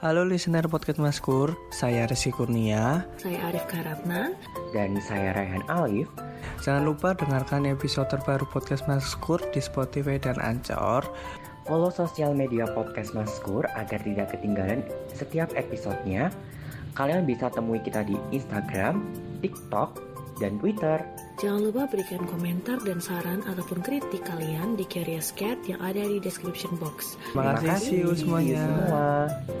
Halo listener podcast Maskur, saya Resi Kurnia. Saya Arif Karatna. Dan saya Raihan Alif. Jangan lupa dengarkan episode terbaru podcast Maskur di Spotify dan Anchor. Follow sosial media podcast Maskur agar tidak ketinggalan setiap episodenya. Kalian bisa temui kita di Instagram, TikTok, dan Twitter. Jangan lupa berikan komentar dan saran ataupun kritik kalian di Curious Cat yang ada di description box. Terima kasih, see you semuanya. Semua.